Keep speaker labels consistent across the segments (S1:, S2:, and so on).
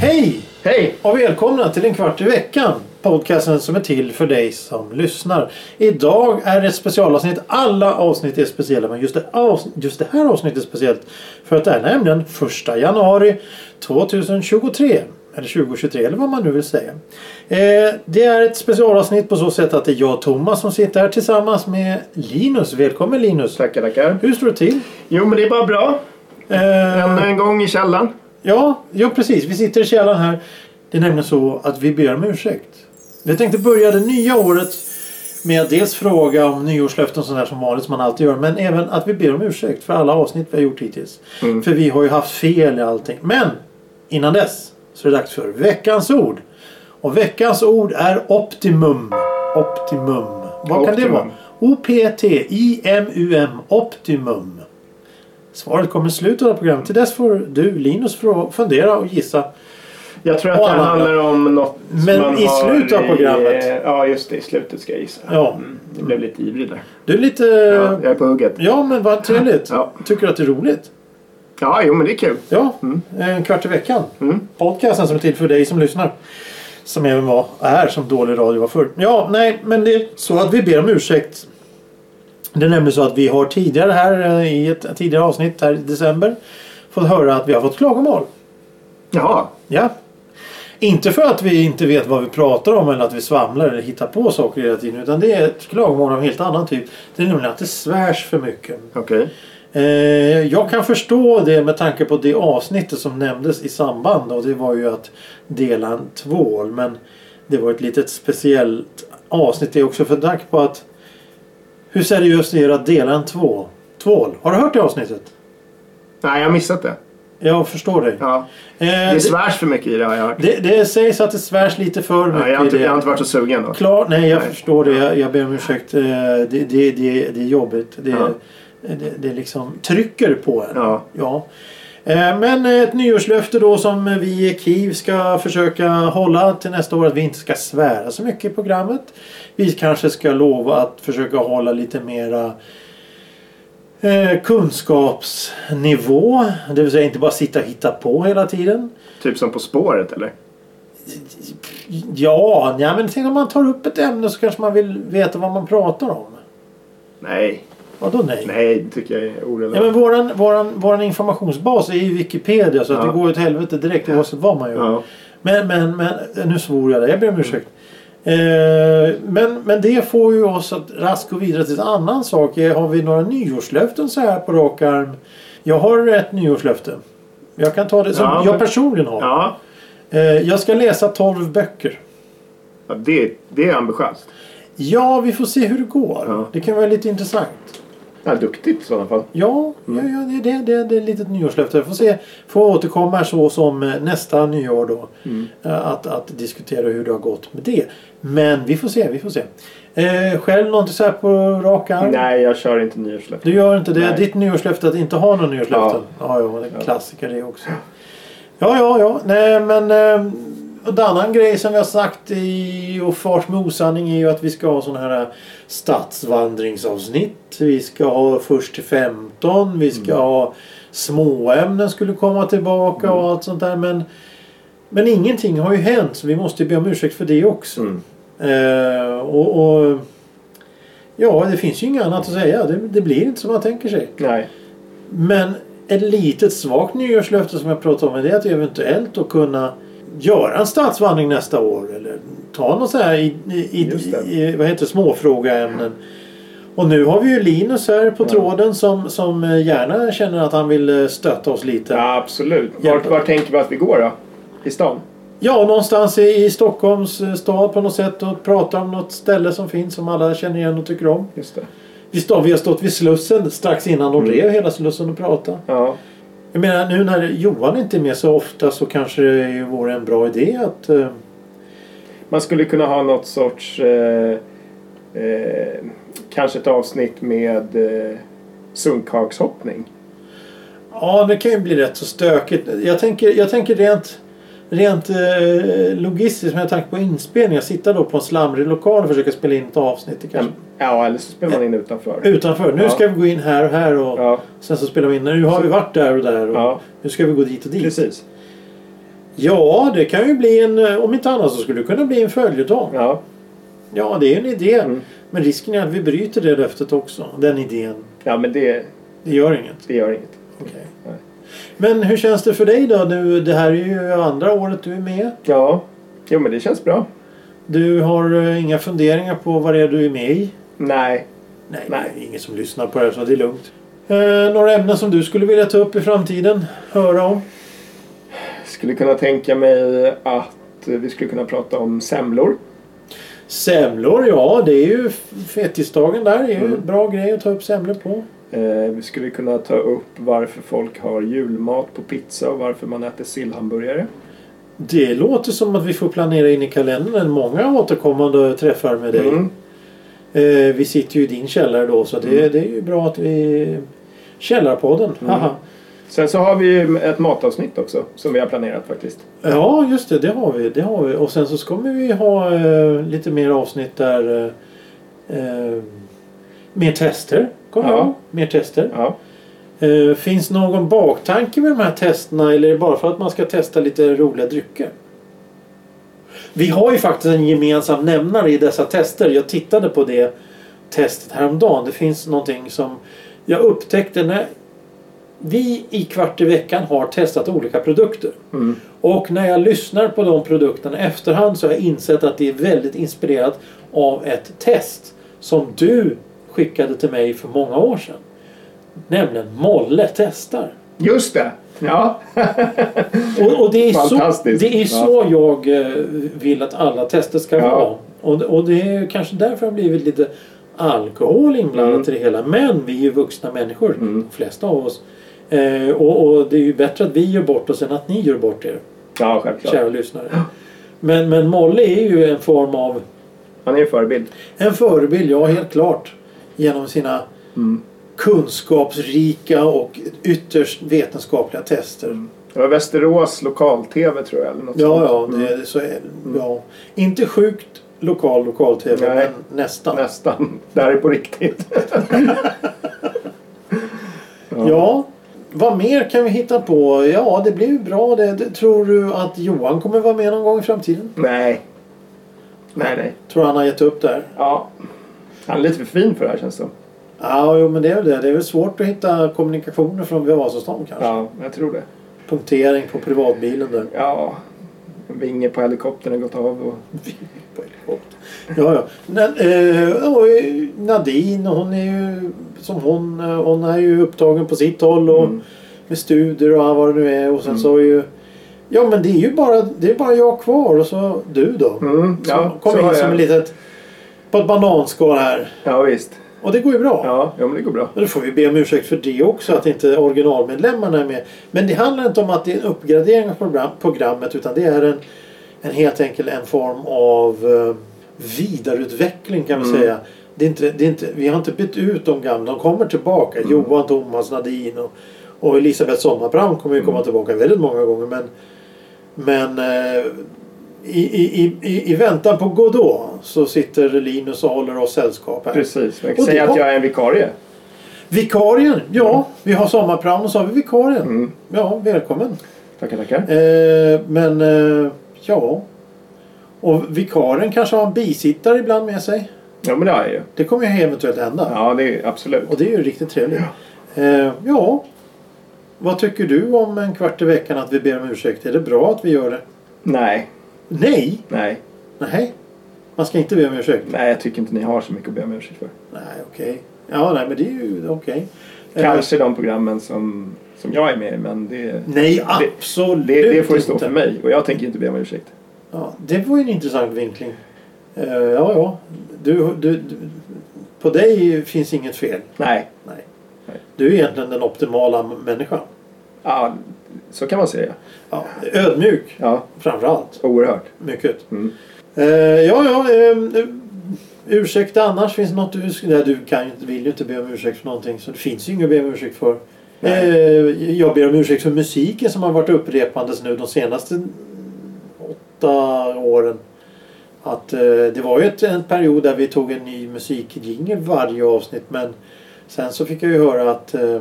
S1: Hej
S2: Hej!
S1: och välkomna till en kvart i veckan. Podcasten som är till för dig som lyssnar. Idag är det ett specialavsnitt. Alla avsnitt är speciella men just det, avs- just det här avsnittet är speciellt. För att det är nämligen 1 januari 2023. Eller 2023 eller vad man nu vill säga. Eh, det är ett specialavsnitt på så sätt att det är jag och Thomas som sitter här tillsammans med Linus. Välkommen Linus!
S2: Tackar, tackar.
S1: Hur står det till?
S2: Jo, men det är bara bra.
S1: Eh,
S2: Ännu en gång i källaren.
S1: Ja, ja precis. Vi sitter i källaren här. Det är nämligen så att vi ber om ursäkt. Vi tänkte börja det nya året med att dels fråga om nyårslöften och sånt där som vanligt som man alltid gör. Men även att vi ber om ursäkt för alla avsnitt vi har gjort hittills. För vi har ju haft fel i allting. Men innan dess så är det dags för veckans ord. Och veckans ord är optimum. Optimum. Vad kan det
S2: Optimum.
S1: vara? O-P-T-I-M-U-M. Optimum. Svaret kommer i slutet av programmet. Till dess får du, Linus, frå- fundera och gissa.
S2: Jag tror att det
S1: Och alla-
S2: handlar om något
S1: Men
S2: man
S1: i
S2: har
S1: slutet av
S2: i-
S1: programmet.
S2: Ja, just det. I slutet ska jag gissa.
S1: Ja.
S2: Jag blev lite ivrig där.
S1: Du är lite...
S2: Ja, jag är på hugget.
S1: Ja, men vad trevligt.
S2: Ja.
S1: Tycker du att det är roligt?
S2: Ja, jo, men det är kul.
S1: Ja,
S2: Mm.
S1: en kvart i veckan. Podcasten som är till för dig som lyssnar. Som även var, är som dålig radio var förr. Ja, nej, men det är så att vi ber om ursäkt. Det är nämligen så att vi har tidigare här eh, i ett tidigare avsnitt här i december fått höra att vi har fått klagomål.
S2: Jaha.
S1: Ja. Inte för att vi inte vet vad vi pratar om eller att vi svamlar eller hittar på saker hela tiden. Utan det är ett klagomål av en helt annan typ. Det är nämligen att det svärs för mycket.
S2: Okej.
S1: Eh, jag kan förstå det med tanke på det avsnittet som nämndes i samband. Och det var ju att dela en tvål. Men det var ett litet speciellt avsnitt det också. För tack på att hur seriöst är det att dela en två, tvål? Har du hört det avsnittet?
S2: Nej, jag har missat det.
S1: Jag förstår dig.
S2: Ja.
S1: Eh,
S2: Det
S1: det,
S2: svärs för mycket i det har jag hört.
S1: det, det sägs att det svärs lite för mycket
S2: Ja, jag, har
S1: i
S2: inte,
S1: det.
S2: jag har inte varit så sugen då.
S1: Klar, nej jag
S2: Nej.
S1: förstår det. Jag, jag ber om ursäkt. Eh, Det, det, det, det är jobbigt. Det,
S2: Ja.
S1: det, det liksom trycker på en.
S2: Ja.
S1: Eh, Men ett nyårslöfte då som vi i Kiev ska försöka hålla till nästa år. Att vi inte ska svära så mycket i programmet. Vi kanske ska lova att försöka hålla lite mera eh, kunskapsnivå. Det vill säga inte bara sitta och hitta på hela tiden.
S2: Typ som På spåret eller?
S1: Ja, ja men tänk om man tar upp ett ämne så kanske man vill veta vad man pratar om.
S2: Nej.
S1: Vadå nej?
S2: Nej, det tycker jag är
S1: Ja,
S2: orelevant.
S1: men våran, våran, våran informationsbas är ju Wikipedia så att
S2: Ja.
S1: det går åt helvete direkt oavsett vad man gör.
S2: Ja.
S1: Men, men, men nu svor jag det. Jag ber om ursäkt. Eh, men, men det får ju oss att raskt gå vidare till en annan sak. Eh, Har vi några nyårslöften så här på rak arm? Jag har ett nyårslöfte. Jag kan ta det som
S2: Ja, men-
S1: jag personligen har.
S2: Ja.
S1: Eh, jag ska läsa 12 böcker.
S2: ja det, det är ambitiöst.
S1: Ja, vi får se hur det går.
S2: Ja.
S1: Det kan vara lite intressant.
S2: Ja, duktigt i sådana fall.
S1: Ja,
S2: Mm.
S1: ja, ja det, det, det, det är ett litet nyårslöfte. Jag får, se, får återkomma här så som eh, nästa nyår då.
S2: Mm.
S1: Eh, Att, att diskutera hur det har gått med det. Men vi får se, vi får se. Eh, själv någonting så här på rak arm?
S2: Nej, jag kör inte nyårslöften.
S1: Du gör inte det?
S2: Nej.
S1: Ditt nyårslöfte att inte ha några nyårslöften? Ja, ja, det är en klassiker det också. Ja, ja, ja. Nej, men... Eh, och en annan grej som vi har sagt i och fars med osanning är ju att vi ska ha sådana här stadsvandringsavsnitt. Vi ska ha först till 15. Vi ska ha småämnen skulle komma tillbaka och allt sånt där. Men, men ingenting har ju hänt så vi måste ju be om ursäkt för det också.
S2: Mm.
S1: Eh, och, och Ja, det finns ju inget annat att säga. Det, det blir inte som man tänker sig.
S2: Nej.
S1: Men ett litet svagt nyårslöfte som jag pratade om det är att eventuellt att kunna göra en stadsvandring nästa år. Eller ta något så här i, i,
S2: Just det.
S1: i, i vad heter det, småfrågeämnen. Och nu har vi ju Linus här på tråden som, som gärna känner att han vill eh, stötta oss lite.
S2: Ja, absolut. Vart,
S1: Hjälpa.
S2: vart tänker vi att vi går då? I stan?
S1: Ja, någonstans i, i Stockholms eh, stad på något sätt och prata om något ställe som finns som alla känner igen och tycker om.
S2: Just det.
S1: Vi, står, vi har stått vid Slussen strax innan
S2: Mm.
S1: de rev hela Slussen och pratade.
S2: Ja.
S1: Jag menar nu när Johan inte är med så ofta så kanske det vore en bra idé att... eh,
S2: Man skulle kunna ha något sorts... Eh, eh, kanske ett avsnitt med eh, sunkhagshoppning.
S1: Ja, det kan ju bli rätt så stökigt. Jag tänker, jag tänker rent, rent eh, logistiskt med tanke på inspelning. Att sitta då på en slamrig lokal och försöka spela in ett avsnitt. Det kanske.
S2: Ja, eller så spelar man in utanför.
S1: Utanför. Nu
S2: Mm. Ja.
S1: ska vi gå in här och här och
S2: Ja,
S1: sen så spelar vi in. Nu har vi varit där och där och
S2: ja
S1: nu ska vi gå dit och dit.
S2: precis.
S1: Ja, det kan ju bli en, eh, om inte annat så skulle det kunna bli en följetong.
S2: Ja,
S1: Ja, det är en idé.
S2: Mm.
S1: Men risken är att vi bryter det löftet också. Den idén.
S2: ja men det,
S1: Det gör inget.
S2: det gör inget.
S1: Okej.
S2: Nej.
S1: Men hur känns det för dig då? Nu, det här är ju andra året du är med.
S2: Ja, jo men det känns bra.
S1: Du har eh, inga funderingar på vad det är du är med i?
S2: Nej,
S1: Nej,
S2: Nej.
S1: det är ingen som lyssnar på det här så det är lugnt. Eh, några ämnen som du skulle vilja ta upp i framtiden? Höra om?
S2: skulle kunna tänka mig att vi skulle kunna prata om semlor.
S1: Semlor, ja det är ju f- fetisdagen där. Det är ju
S2: Mm.
S1: en bra grej att ta upp semlor på.
S2: Eh, vi skulle kunna ta upp varför folk har julmat på pizza och varför man äter sillhamburgare.
S1: Det låter som att vi får planera in i kalendern många återkommande träffar med dig.
S2: Mm.
S1: Eh, vi sitter ju i din källare då så det, det är ju bra att vi... Källarpodden,
S2: Mm.
S1: haha.
S2: Sen så har vi ju ett matavsnitt också som vi har planerat faktiskt.
S1: Ja, just det. Det har vi. Det har vi. Och sen så kommer vi ha eh, lite mer avsnitt där... Eh, eh, mer tester. Kommer
S2: Ja.
S1: jag ihåg. Mer tester.
S2: Ja.
S1: Eh, finns någon baktanke med de här testerna eller är det bara för att man ska testa lite roliga drycker? Vi har ju faktiskt en gemensam nämnare i dessa tester. Jag tittade på det testet häromdagen. Det finns någonting som jag upptäckte när vi i Kvart i veckan har testat olika produkter.
S2: Mm.
S1: Och när jag lyssnar på de produkterna efterhand så har jag insett att det är väldigt inspirerat av ett test som du skickade till mig för många år sedan. Nämligen Molle testar.
S2: Just det! Ja.
S1: Och, och det är så,
S2: Fantastiskt.
S1: det är så jag eh, vill att alla tester ska
S2: Ja.
S1: vara. Och, och det är ju kanske därför det har blivit lite alkohol inblandat i
S2: Mm.
S1: det hela. Men vi är ju vuxna människor,
S2: Mm.
S1: de flesta av oss. Eh, och, och det är ju bättre att vi gör bort oss än att ni gör bort er.
S2: ja, självklart.
S1: kära lyssnare. Men, men Molle är ju en form av
S2: Han är ju förebild.
S1: en förebild, ja helt klart. Genom sina
S2: Mm.
S1: kunskapsrika och ytterst vetenskapliga tester.
S2: Det var Västerås lokal-tv tror jag. Eller något
S1: Ja, ja,
S2: sånt. Mm.
S1: det är så är ja. Inte sjukt lokal lokal-tv,
S2: Nej.
S1: men nästan.
S2: Nästan. Det här är på riktigt.
S1: Ja, vad mer kan vi hitta på? Ja, det blir ju bra det. Det- Tror du att Johan kommer vara med någon gång i framtiden?
S2: Nej. Nej, nej.
S1: Tror han har gett upp där?
S2: Ja. Han är lite för fin för det här känns det som.
S1: Ja, jo, men det är väl det. Det är väl svårt att hitta kommunikationer från Vasastan kanske.
S2: Ja, jag tror det.
S1: Punktering på privatbilen där.
S2: Ja. Vinge på helikoptern har gått av och...
S1: Ja, ja. Na- eh, och, eh, Nadine, hon är ju som hon. eh, Hon är ju upptagen på sitt håll och
S2: Mm.
S1: med studier och vad det nu är. Och sen så är ju... Ja, men det är ju bara, det är bara jag kvar och så du då.
S2: Mm, ja,
S1: som kom
S2: så har
S1: in som
S2: jag.
S1: en litet... På ett bananskal här.
S2: Ja, visst.
S1: Och det går ju bra.
S2: Ja, ja men det går bra.
S1: Men då får vi be om ursäkt för det också, att inte originalmedlemmarna är med. Men det handlar inte om att det är en uppgradering av program, programmet utan det är en, en helt enkelt en form av eh, vidareutveckling kan vi
S2: Mm.
S1: säga. Det är inte, det är inte, vi har inte bytt ut de gamla, de kommer tillbaka.
S2: Mm.
S1: Johan, Thomas, Nadine och, och Elisabeth Sommarbrand kommer ju komma
S2: Mm.
S1: tillbaka väldigt många gånger. Men, men eh, i, i, i- i, i väntan på Godot så sitter Linus och håller oss sällskap här.
S2: Precis. Man kan
S1: Och det
S2: säga att
S1: var-
S2: jag är en vikarie.
S1: Vikarien, ja. Vi har sommarprån och så har vi vikarien.
S2: Mm.
S1: Ja, välkommen.
S2: Tackar, tackar.
S1: Eh, men, eh, ja. Och vikarien kanske har en bisittare ibland med sig.
S2: Ja, men det har jag ju.
S1: Det kommer ju eventuellt hända.
S2: Ja, det är absolut.
S1: Och det är ju riktigt trevligt. Eh, ja. Vad tycker du om en kvart i veckan att vi ber om ursäkt? Är det bra att vi gör det?
S2: Nej,
S1: Nej!
S2: nej,
S1: Nej. Man ska inte be om ursäkt.
S2: nej. Jag tycker inte ni har så mycket att be om ursäkt för.
S1: Nej, okej. Ja, nej, men det är ju okej. Eh,
S2: Kanske de programmen som, som jag är med i, men det,
S1: Eh, Nej, absolut
S2: det, det får ju stå
S1: inte.
S2: för mig. Och jag tänker inte be om ursäkt.
S1: Ja, det var ju en intressant vinkling. Eh, ja, ja. Du, du, du, på dig finns inget fel.
S2: Nej,
S1: Nej.
S2: Nej.
S1: Du är egentligen den optimala m- människan.
S2: ja, så kan man säga.
S1: Ja, ödmjuk
S2: Ja,
S1: framförallt.
S2: oerhört.
S1: Mycket.
S2: Mm.
S1: Eh, ja, ja. Eh, ursäkta annars. Finns det något du... sk- Nej, du kan ju, inte- vill ju inte be om ursäkt för någonting. Så det finns ju inget att be om ursäkt för.
S2: Nej.
S1: Eh, jag ber om ursäkt för musiken som har varit upprepandes nu de senaste åtta åren. Att eh, det var ju ett, en period där vi tog en ny musikjingel varje avsnitt men sen så fick jag ju höra att eh,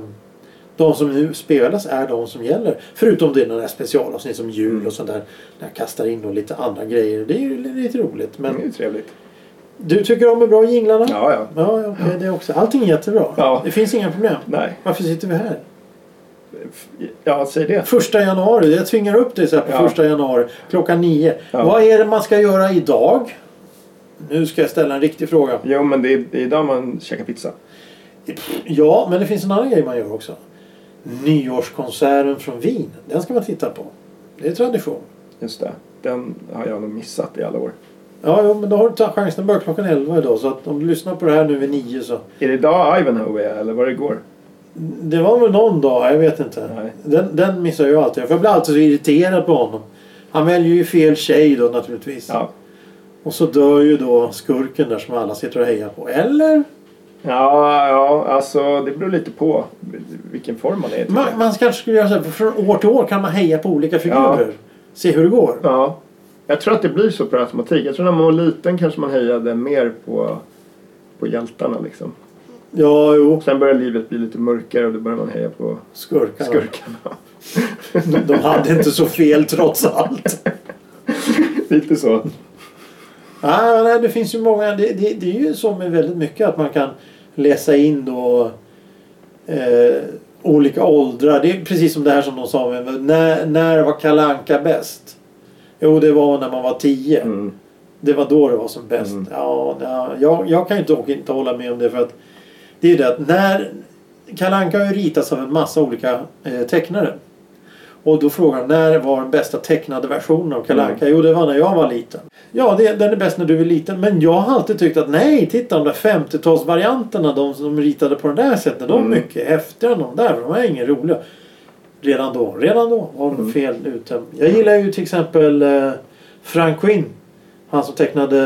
S1: de som nu spelas är de som gäller. Förutom det några specialavsnitt som jul
S2: Mm.
S1: och sånt där. När jag kastar in och lite andra grejer. Det är ju lite roligt. Men
S2: Men det är ju trevligt.
S1: du tycker om är bra jinglarna?
S2: Ja, ja.
S1: Ja, ja, okej, det också. Allting är jättebra.
S2: Ja.
S1: Det finns inga problem.
S2: Nej.
S1: Varför sitter vi här?
S2: Ja, säg det.
S1: Första januari. Jag tvingar upp dig så här på
S2: Ja.
S1: första januari. Klockan nio.
S2: Ja.
S1: Vad är det man ska göra idag? Nu ska jag ställa en riktig fråga.
S2: Jo, men det är, det är idag man käkar pizza.
S1: Ja, men det finns en annan grej man gör också. Nyårskonserten från Wien. Den ska man titta på. Det är tradition.
S2: Just det. Den har jag nog missat i alla år.
S1: Ja, jo, men då har du tagit chansen. Den börjar klockan elva idag. Så att om du lyssnar på det här nu vid nio så.
S2: Är det idag Ivanhoe är eller var det igår?
S1: Det var väl någon dag, jag vet inte.
S2: Nej.
S1: Den, den missar jag alltid. För jag blir alltid så irriterad på honom. Han väljer ju fel tjej då naturligtvis.
S2: Ja.
S1: Och så dör ju då skurken där som alla sitter och hejar på. Eller?
S2: Ja, ja, alltså det beror lite på vilken form man är i, tycker
S1: Man,
S2: jag.
S1: man kanske skulle göra så här, från år till år kan man heja på olika figurer. Se hur det går.
S2: Ja. Jag tror att det blir så per automatik. Jag tror när man var liten kanske man hejade mer på, på hjältarna liksom.
S1: Ja, jo.
S2: Sen börjar livet bli lite mörkare och då börjar man heja på
S1: Skurkarna.
S2: skurkarna.
S1: De, de hade inte så fel trots allt.
S2: lite så.
S1: Ah, nej, det finns ju många. Det, det, det är ju så med väldigt mycket att man kan läsa in då eh, olika åldrar. Det är precis som det här som de sa. men När, när var Kalle Anka bäst? Jo, det var när man var tio.
S2: Mm.
S1: Det var då det var som bäst. Ja, ja, jag, jag kan ju dock inte hålla med om det för att det är ju det att när Kalle Anka har ju ritats av en massa olika eh, tecknare. Och då frågar han när var den bästa tecknade versionen av Kalle
S2: Mm.
S1: Anka? Jo, det var när jag var liten. Ja, det, den är bäst när du är liten. Men jag har alltid tyckt att nej, titta de där 50-talsvarianterna, de som ritade på det där sättet, de är
S2: Mm.
S1: mycket häftigare än de där. för De är ingen roliga. Redan då, redan då var de
S2: Mm.
S1: fel ute. Jag gillar ju till exempel eh, Frank Quinn. Han som tecknade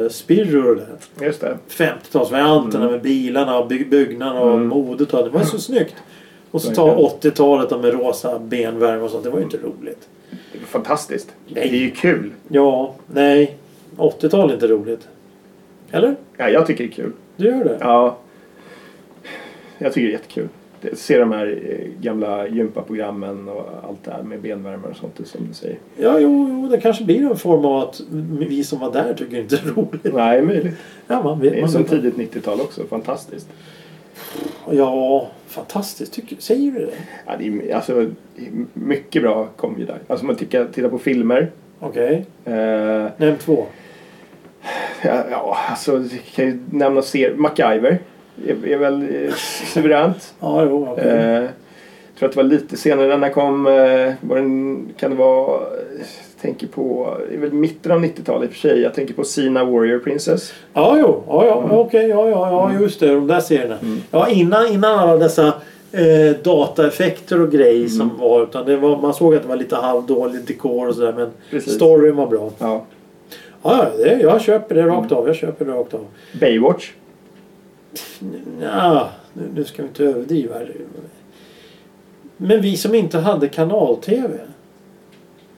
S1: eh, Spirro och det där.
S2: Just det.
S1: 50-talsvarianterna
S2: Mm.
S1: med bilarna och byg- byggnaderna och
S2: Mm.
S1: modet. Och allt. det var ju så snyggt. Och så
S2: Verkligen.
S1: ta 80-talet då med rosa benvärme och sånt. Det var ju inte roligt.
S2: Det är fantastiskt.
S1: Nej.
S2: Det är ju kul.
S1: Ja, nej. 80-tal är inte roligt. Eller?
S2: Ja, jag tycker det är kul.
S1: Du gör det?
S2: Ja. Jag tycker det är jättekul. Det- Se de här eh, gamla gympaprogrammen och allt det här med benvärmare och sånt som du säger.
S1: Ja, jo, jo, det kanske blir en form av att vi som var där tycker inte det är roligt.
S2: Nej, möjligt.
S1: Ja, man
S2: Det
S1: vet.
S2: är
S1: Man
S2: som
S1: vet.
S2: tidigt 90-tal också. Fantastiskt.
S1: Ja, fantastiskt. Tycker, säger du det?
S2: Ja, det är, alltså, mycket bra kom ju där. Alltså man tittar, tittar på filmer.
S1: Okej.
S2: Eh,
S1: Nämn två.
S2: ja, alltså jag kan ju nämna ser MacGyver. Är, är väl eh, suveränt.
S1: Ja, jo, okej.
S2: Eh, jag tror att det var lite senare den här kom. Eh, var den, kan det vara... Jag tänker på... Det är väl mitten av 90-talet i och för sig. Jag tänker på Sina Warrior Princess.
S1: Ja, jo. Ja, ja, okej. Ja, ja,
S2: Mm.
S1: ja, just det. De där serierna. Ja, innan, innan alla dessa eh, dataeffekter och grejer
S2: Mm.
S1: som var. Utan det var, man såg att det var lite halvdålig dekor och sådär. Men
S2: Precis.
S1: storyn var bra.
S2: Ja.
S1: Ja, ja, det, jag köper det rakt av. Jag köper det rakt av.
S2: Baywatch.
S1: Ja, nu, nu ska vi inte överdriva. här. Men vi som inte hade kanal-tv.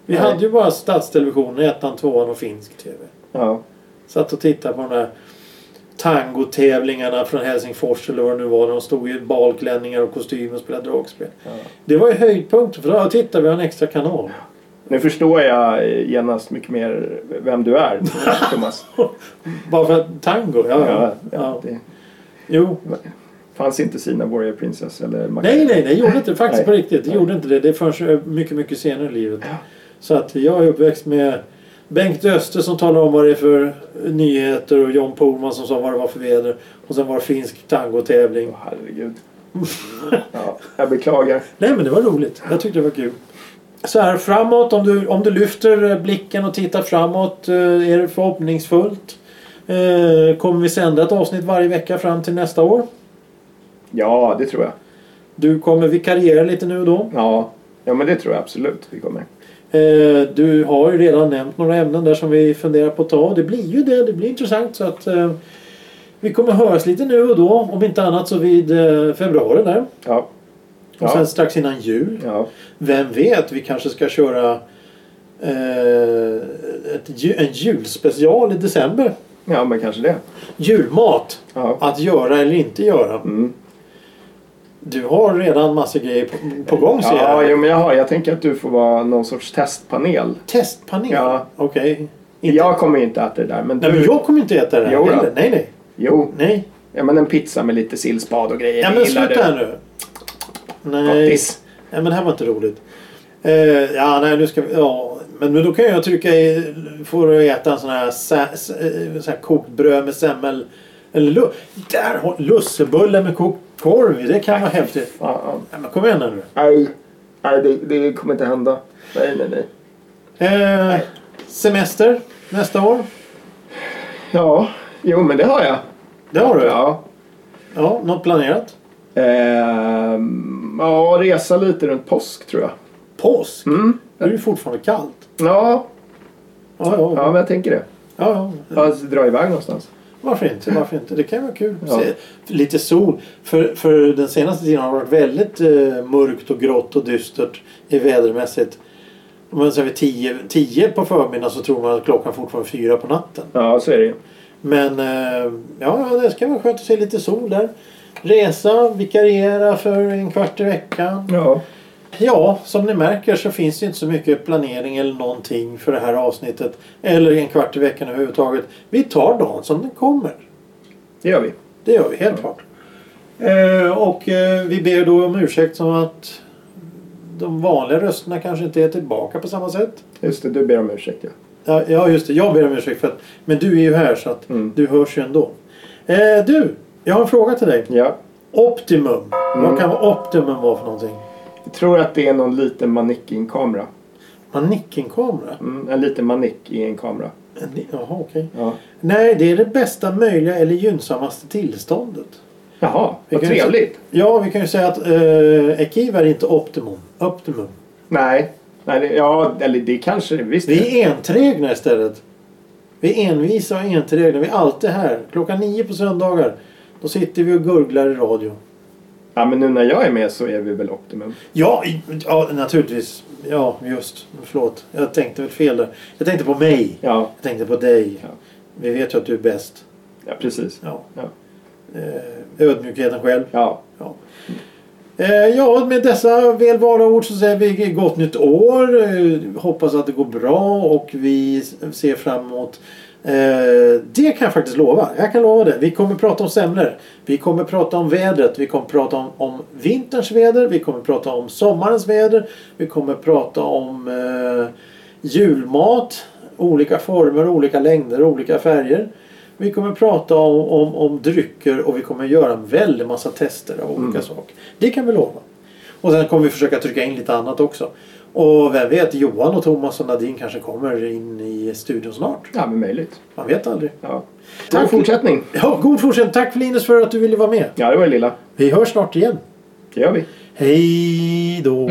S1: Vi
S2: Nej.
S1: hade ju bara stadstelevisionen, ettan, tvåan och finsk tv.
S2: Ja.
S1: Satt och tittade på de där tangotävlingarna från Helsingfors eller vad det nu var. när De stod i balklänningar och kostymer och spelade dragspel.
S2: Ja.
S1: Det var ju höjdpunkten. För då, titta vi har en extra kanal.
S2: Nu förstår jag eh, genast mycket mer vem du är, Thomas.
S1: Bara för att tango, ja. ja,
S2: Ja, ja, det
S1: Jo.
S2: fanns inte Sina Warrior Princess eller MacGyver.
S1: Nej, nej, det gjorde inte det. Faktiskt
S2: Nej.
S1: på riktigt. Det
S2: Nej.
S1: gjorde inte det. Det förs mycket, mycket senare i livet.
S2: Ja.
S1: Så att jag är uppväxt med Bengt Öster som talar om vad det är för eh, nyheter och John Pohlman som sa vad det var för väder. Och sen var det finsk tangotävling.
S2: Åh, herregud. Ja, jag beklagar.
S1: Nej men det var roligt. Jag tyckte det var kul. Så här framåt, om du, om du lyfter eh, blicken och tittar framåt eh, är det förhoppningsfullt. Eh, Kommer vi sända ett avsnitt varje vecka fram till nästa år?
S2: Ja, det tror jag.
S1: Du kommer vikariera lite nu och då.
S2: Ja, ja men det tror jag absolut vi kommer.
S1: Eh, Du har ju redan nämnt några ämnen där som vi funderar på att ta. Det blir ju det, det blir intressant. Så att eh, vi kommer höras lite nu och då. Om inte annat så vid eh, februari där.
S2: Ja,
S1: Och
S2: Ja.
S1: sen strax innan jul.
S2: Ja.
S1: Vem vet, vi kanske ska köra eh, ett, ju- en julspecial i december.
S2: ja, men kanske det.
S1: Julmat.
S2: Ja.
S1: Att göra eller inte göra.
S2: Mm.
S1: Du har redan massa grejer på, på gång ser
S2: Ja,
S1: jag.
S2: jo, men jag, har, jag tänker att du får vara någon sorts testpanel.
S1: Testpanel?
S2: Ja.
S1: Okej. Inte-
S2: Jag kommer inte äta det där, men
S1: Nej, men
S2: du...
S1: jag kommer inte äta det här
S2: Jo då.
S1: heller. Nej, nej.
S2: Jo,
S1: Nej.
S2: ja, men en pizza med lite sill, spad och grejer.
S1: Ja,
S2: det
S1: men
S2: gillar
S1: sluta här
S2: du.
S1: nu. Nej.
S2: Gottis.
S1: nej, men det här var inte roligt. Eh, ja, nej, nu ska vi... Ja, men, men då kan jag trycka i... Får du äta en sån här, sä, sä, eh, sån här kokt bröd med semmel. Eller lu, där! har- Lussebulle med kokt korv. Det kan vara häftigt.
S2: Ja, ja.
S1: Ja, men kom igen här nu.
S2: Nej, nej det, det kommer inte hända. Nej, nej, nej.
S1: Eh, semester nästa år.
S2: Ja, jo men det har jag.
S1: Det har du?
S2: Ja.
S1: ja något planerat?
S2: Ehm, ja, resa lite runt påsk tror jag.
S1: Påsk?
S2: Mm.
S1: Det är ju fortfarande kallt.
S2: Ja,
S1: Ja, ja.
S2: ja men jag tänker det.
S1: ja, ja.
S2: Alltså, dra iväg någonstans.
S1: Varför inte? Varför inte? Det kan vara kul.
S2: Ja.
S1: Se, lite sol. För, för den senaste tiden har det varit väldigt eh, mörkt och grått och dystert i vädermässigt. Men sen vid tio, tio på förmiddagen så tror man att klockan fortfarande är fyra på natten.
S2: Ja, så är det ju.
S1: Men eh, ja, ja, det ska vara skönt att se lite sol där. Resa, vikariera för en kvart i veckan.
S2: Ja.
S1: Ja, som ni märker så finns det inte så mycket planering eller någonting för det här avsnittet. Eller en kvart i veckan överhuvudtaget. Vi tar dagen som den kommer.
S2: Det gör vi.
S1: Det gör vi, helt klart. Eh, och eh, vi ber då om ursäkt som att de vanliga rösterna kanske inte är tillbaka på samma sätt.
S2: Just det, du ber om ursäkt ja.
S1: Ja, ja just det. Jag ber om ursäkt för att, men du är ju här så att
S2: Mm.
S1: du hörs ju ändå. Eh, du, jag har en fråga till dig.
S2: Ja.
S1: Optimum. Vad kan vara optimum vara för någonting?
S2: Jag tror att det är någon liten manick i en kamera.
S1: Mannequin-kamera?
S2: Mm, en liten manick i en kamera.
S1: En li- Jaha, okej.
S2: Ja.
S1: Nej, det är det bästa möjliga eller gynnsammaste tillståndet.
S2: Jaha,
S1: Vi
S2: vad
S1: kan ju se-
S2: trevligt.
S1: Ja, vi kan ju säga att eh, ekiv är inte optimum. optimum.
S2: Nej. Nej, det, ja, eller det kanske det visst är.
S1: Vi är enträgna istället. Vi är envisa och enträgna. Vi är alltid här. Klockan nio på söndagar. Då sitter vi och gurglar i radio.
S2: Ja, men nu när jag är med så är vi väl optimum.
S1: Ja, i- ja naturligtvis. Ja, just. Förlåt. Jag tänkte väl fel där. Jag tänkte på mig.
S2: Ja,
S1: Jag tänkte på dig.
S2: Ja.
S1: Vi vet ju att du är bäst.
S2: ja precis.
S1: Ja.
S2: Ja.
S1: Eh, ödmjukheten själv.
S2: Ja.
S1: Eh, ja, med dessa välvalda ord så säger vi gott nytt år. Eh, hoppas att det går bra och vi ser fram emot eh, det kan jag faktiskt lova. Jag kan lova det. Vi kommer prata om semlor. Vi kommer prata om vädret. Vi kommer prata om, om vinterns väder. Vi kommer prata om sommarens väder. Vi kommer prata om eh, julmat. Olika former, olika längder, olika färger. Vi kommer prata om, om, om drycker och vi kommer göra en väldig massa tester av olika saker. Det kan vi lova. Och sen kommer vi försöka trycka in lite annat också. Och vem vet, Johan och Thomas och Nadine kanske kommer in i studion snart.
S2: Ja, men möjligt.
S1: Man vet aldrig.
S2: Ja.
S1: Tack.
S2: God fortsättning.
S1: Ja, god fortsättning. Tack Linus för att du ville vara med.
S2: Ja, det var det lilla.
S1: Vi hörs snart igen.
S2: Det gör vi.
S1: Hej då!